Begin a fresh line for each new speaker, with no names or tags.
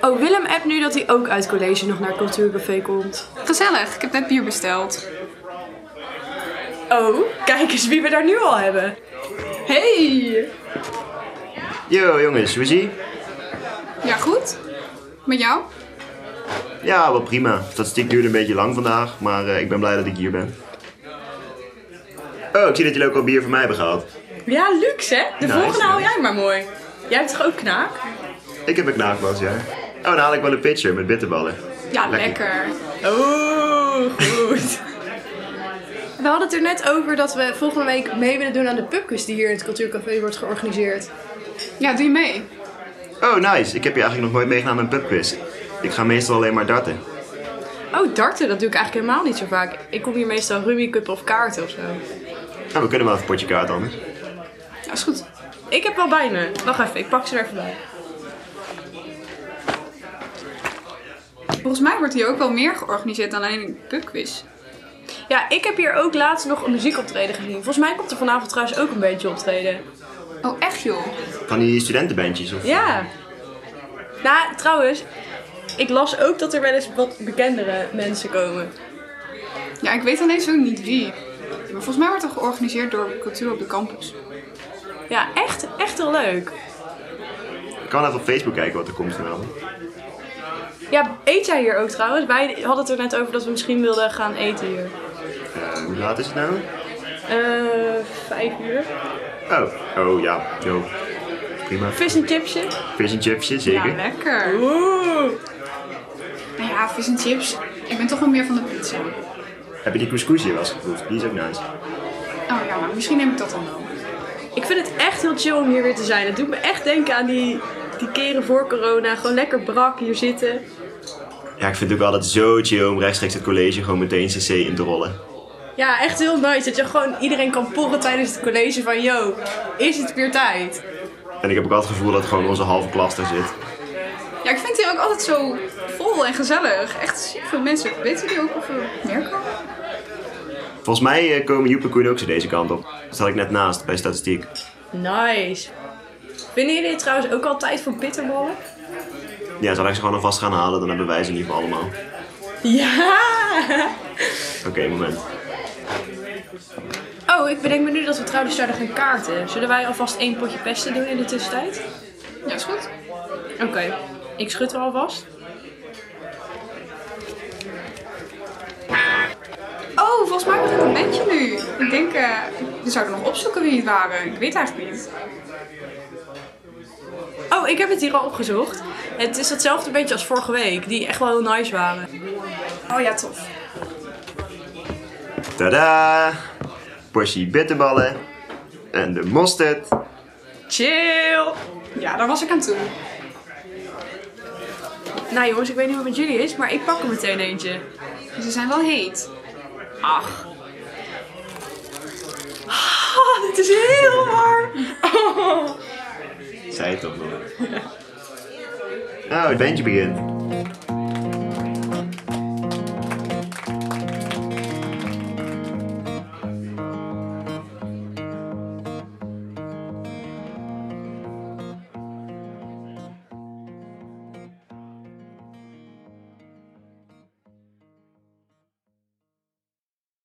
Oh, Willem appt nu dat hij ook uit college nog naar Cultuurcafé komt.
Gezellig, ik heb net bier besteld.
Oh, kijk eens wie we daar nu al hebben.
Hey!
Yo jongens, hoe zie
Ja, goed? Met jou?
Ja, wel prima. Statistiek duurde een beetje lang vandaag, maar eh, ik ben blij dat ik hier ben. Oh, ik zie dat jullie ook al bier voor mij hebben gehaald.
Ja, luxe hè? De
Nice,
volgende haal
nice.
jij maar mooi. Jij hebt toch ook knaak?
Ik heb een knaakbas, ja. Oh, dan haal ik wel een pitcher met bitterballen.
Ja, lekker.
Oeh, goed.
We hadden het er net over dat we volgende week mee willen doen aan de pubquiz die hier in het Cultuurcafé wordt georganiseerd.
Ja, doe je mee?
Oh, nice. Ik heb je eigenlijk nog nooit meegedaan aan een pubquiz. Ik ga meestal alleen maar darten.
Oh, darten, dat doe ik eigenlijk helemaal niet zo vaak. Ik kom hier meestal rummikuppen of kaarten of zo.
Nou, we kunnen wel even een potje kaart anders.
Ja, is goed.
Ik heb wel bij me. Wacht even, ik pak ze er even bij.
Volgens mij wordt hier ook wel meer georganiseerd dan alleen een pubquiz.
Ja, ik heb hier ook laatst nog een muziekoptreden gezien. Volgens mij komt er vanavond trouwens ook een beetje optreden.
Oh, echt joh?
Van die studentenbandjes of...
Ja. Nou, trouwens, ik las ook dat er wel eens wat bekendere mensen komen.
Ja, ik weet alleen zo niet wie. Maar volgens mij wordt dat georganiseerd door Cultuur op de Campus.
Ja, echt, echt heel leuk.
Ik kan even op Facebook kijken wat er komt vanavond.
Ja, eet jij hier ook trouwens? Wij hadden het er net over dat we misschien wilden gaan eten hier.
Eh, hoe laat is het nou?
Eh, vijf uur.
Oh, oh ja. Yo. Prima.
Vis en chipsje.
Fish and chipsje, zeker.
Ja, lekker.
Oeh.
Nou ja, vis en chips. Ik ben toch wel meer van de pizza.
Heb je die couscousje wel eens geproefd? Die is ook nice.
Oh ja, nou, misschien neem ik dat dan wel.
Ik vind het echt heel chill om hier weer te zijn. Het doet me echt denken aan die, die keren voor corona. Gewoon lekker brak hier zitten.
Ja, ik vind het ook altijd zo chill om rechtstreeks het college gewoon meteen CC in te rollen.
Ja, echt heel nice. Dat je gewoon iedereen kan porren tijdens het college van... Yo, is het weer tijd?
En ik heb ook altijd het gevoel dat gewoon onze halve klas daar zit.
Ja, ik vind het hier ook altijd zo vol en gezellig. Echt ziek veel mensen. Weten jullie ook of er meer komen?
Volgens mij eh, komen Joep en Koen ook zo deze kant op. Dat zat ik net naast bij statistiek.
Nice. Vinden jullie het trouwens ook al tijd voor bitterballen?
Ja, zal ik ze gewoon alvast gaan halen, dan hebben wij ze in ieder geval allemaal.
Ja!
Oké, moment.
Oh, ik bedenk me nu dat we trouwens zouden gaan kaarten. Zullen wij alvast één potje pesten doen in de tussentijd?
Ja, is goed.
Oké, ik schud er alvast.
Oh, volgens mij wordt het een bandje nu. Ik denk, eh, we zouden nog opzoeken wie het waren. Ik weet eigenlijk niet.
Oh, ik heb het hier al opgezocht. Het is hetzelfde beetje als vorige week, die echt wel heel nice waren.
Oh ja, tof.
Tada! Portie bitterballen. En de mosterd.
Chill. Ja, daar was ik aan toe.
Nou jongens, ik weet niet hoe het met jullie is, maar ik pak er meteen eentje.
Ze zijn wel heet.
Ach. Ah, dit is heel warm. Oh.
Zij het toch nog. Nou, het bandje begint.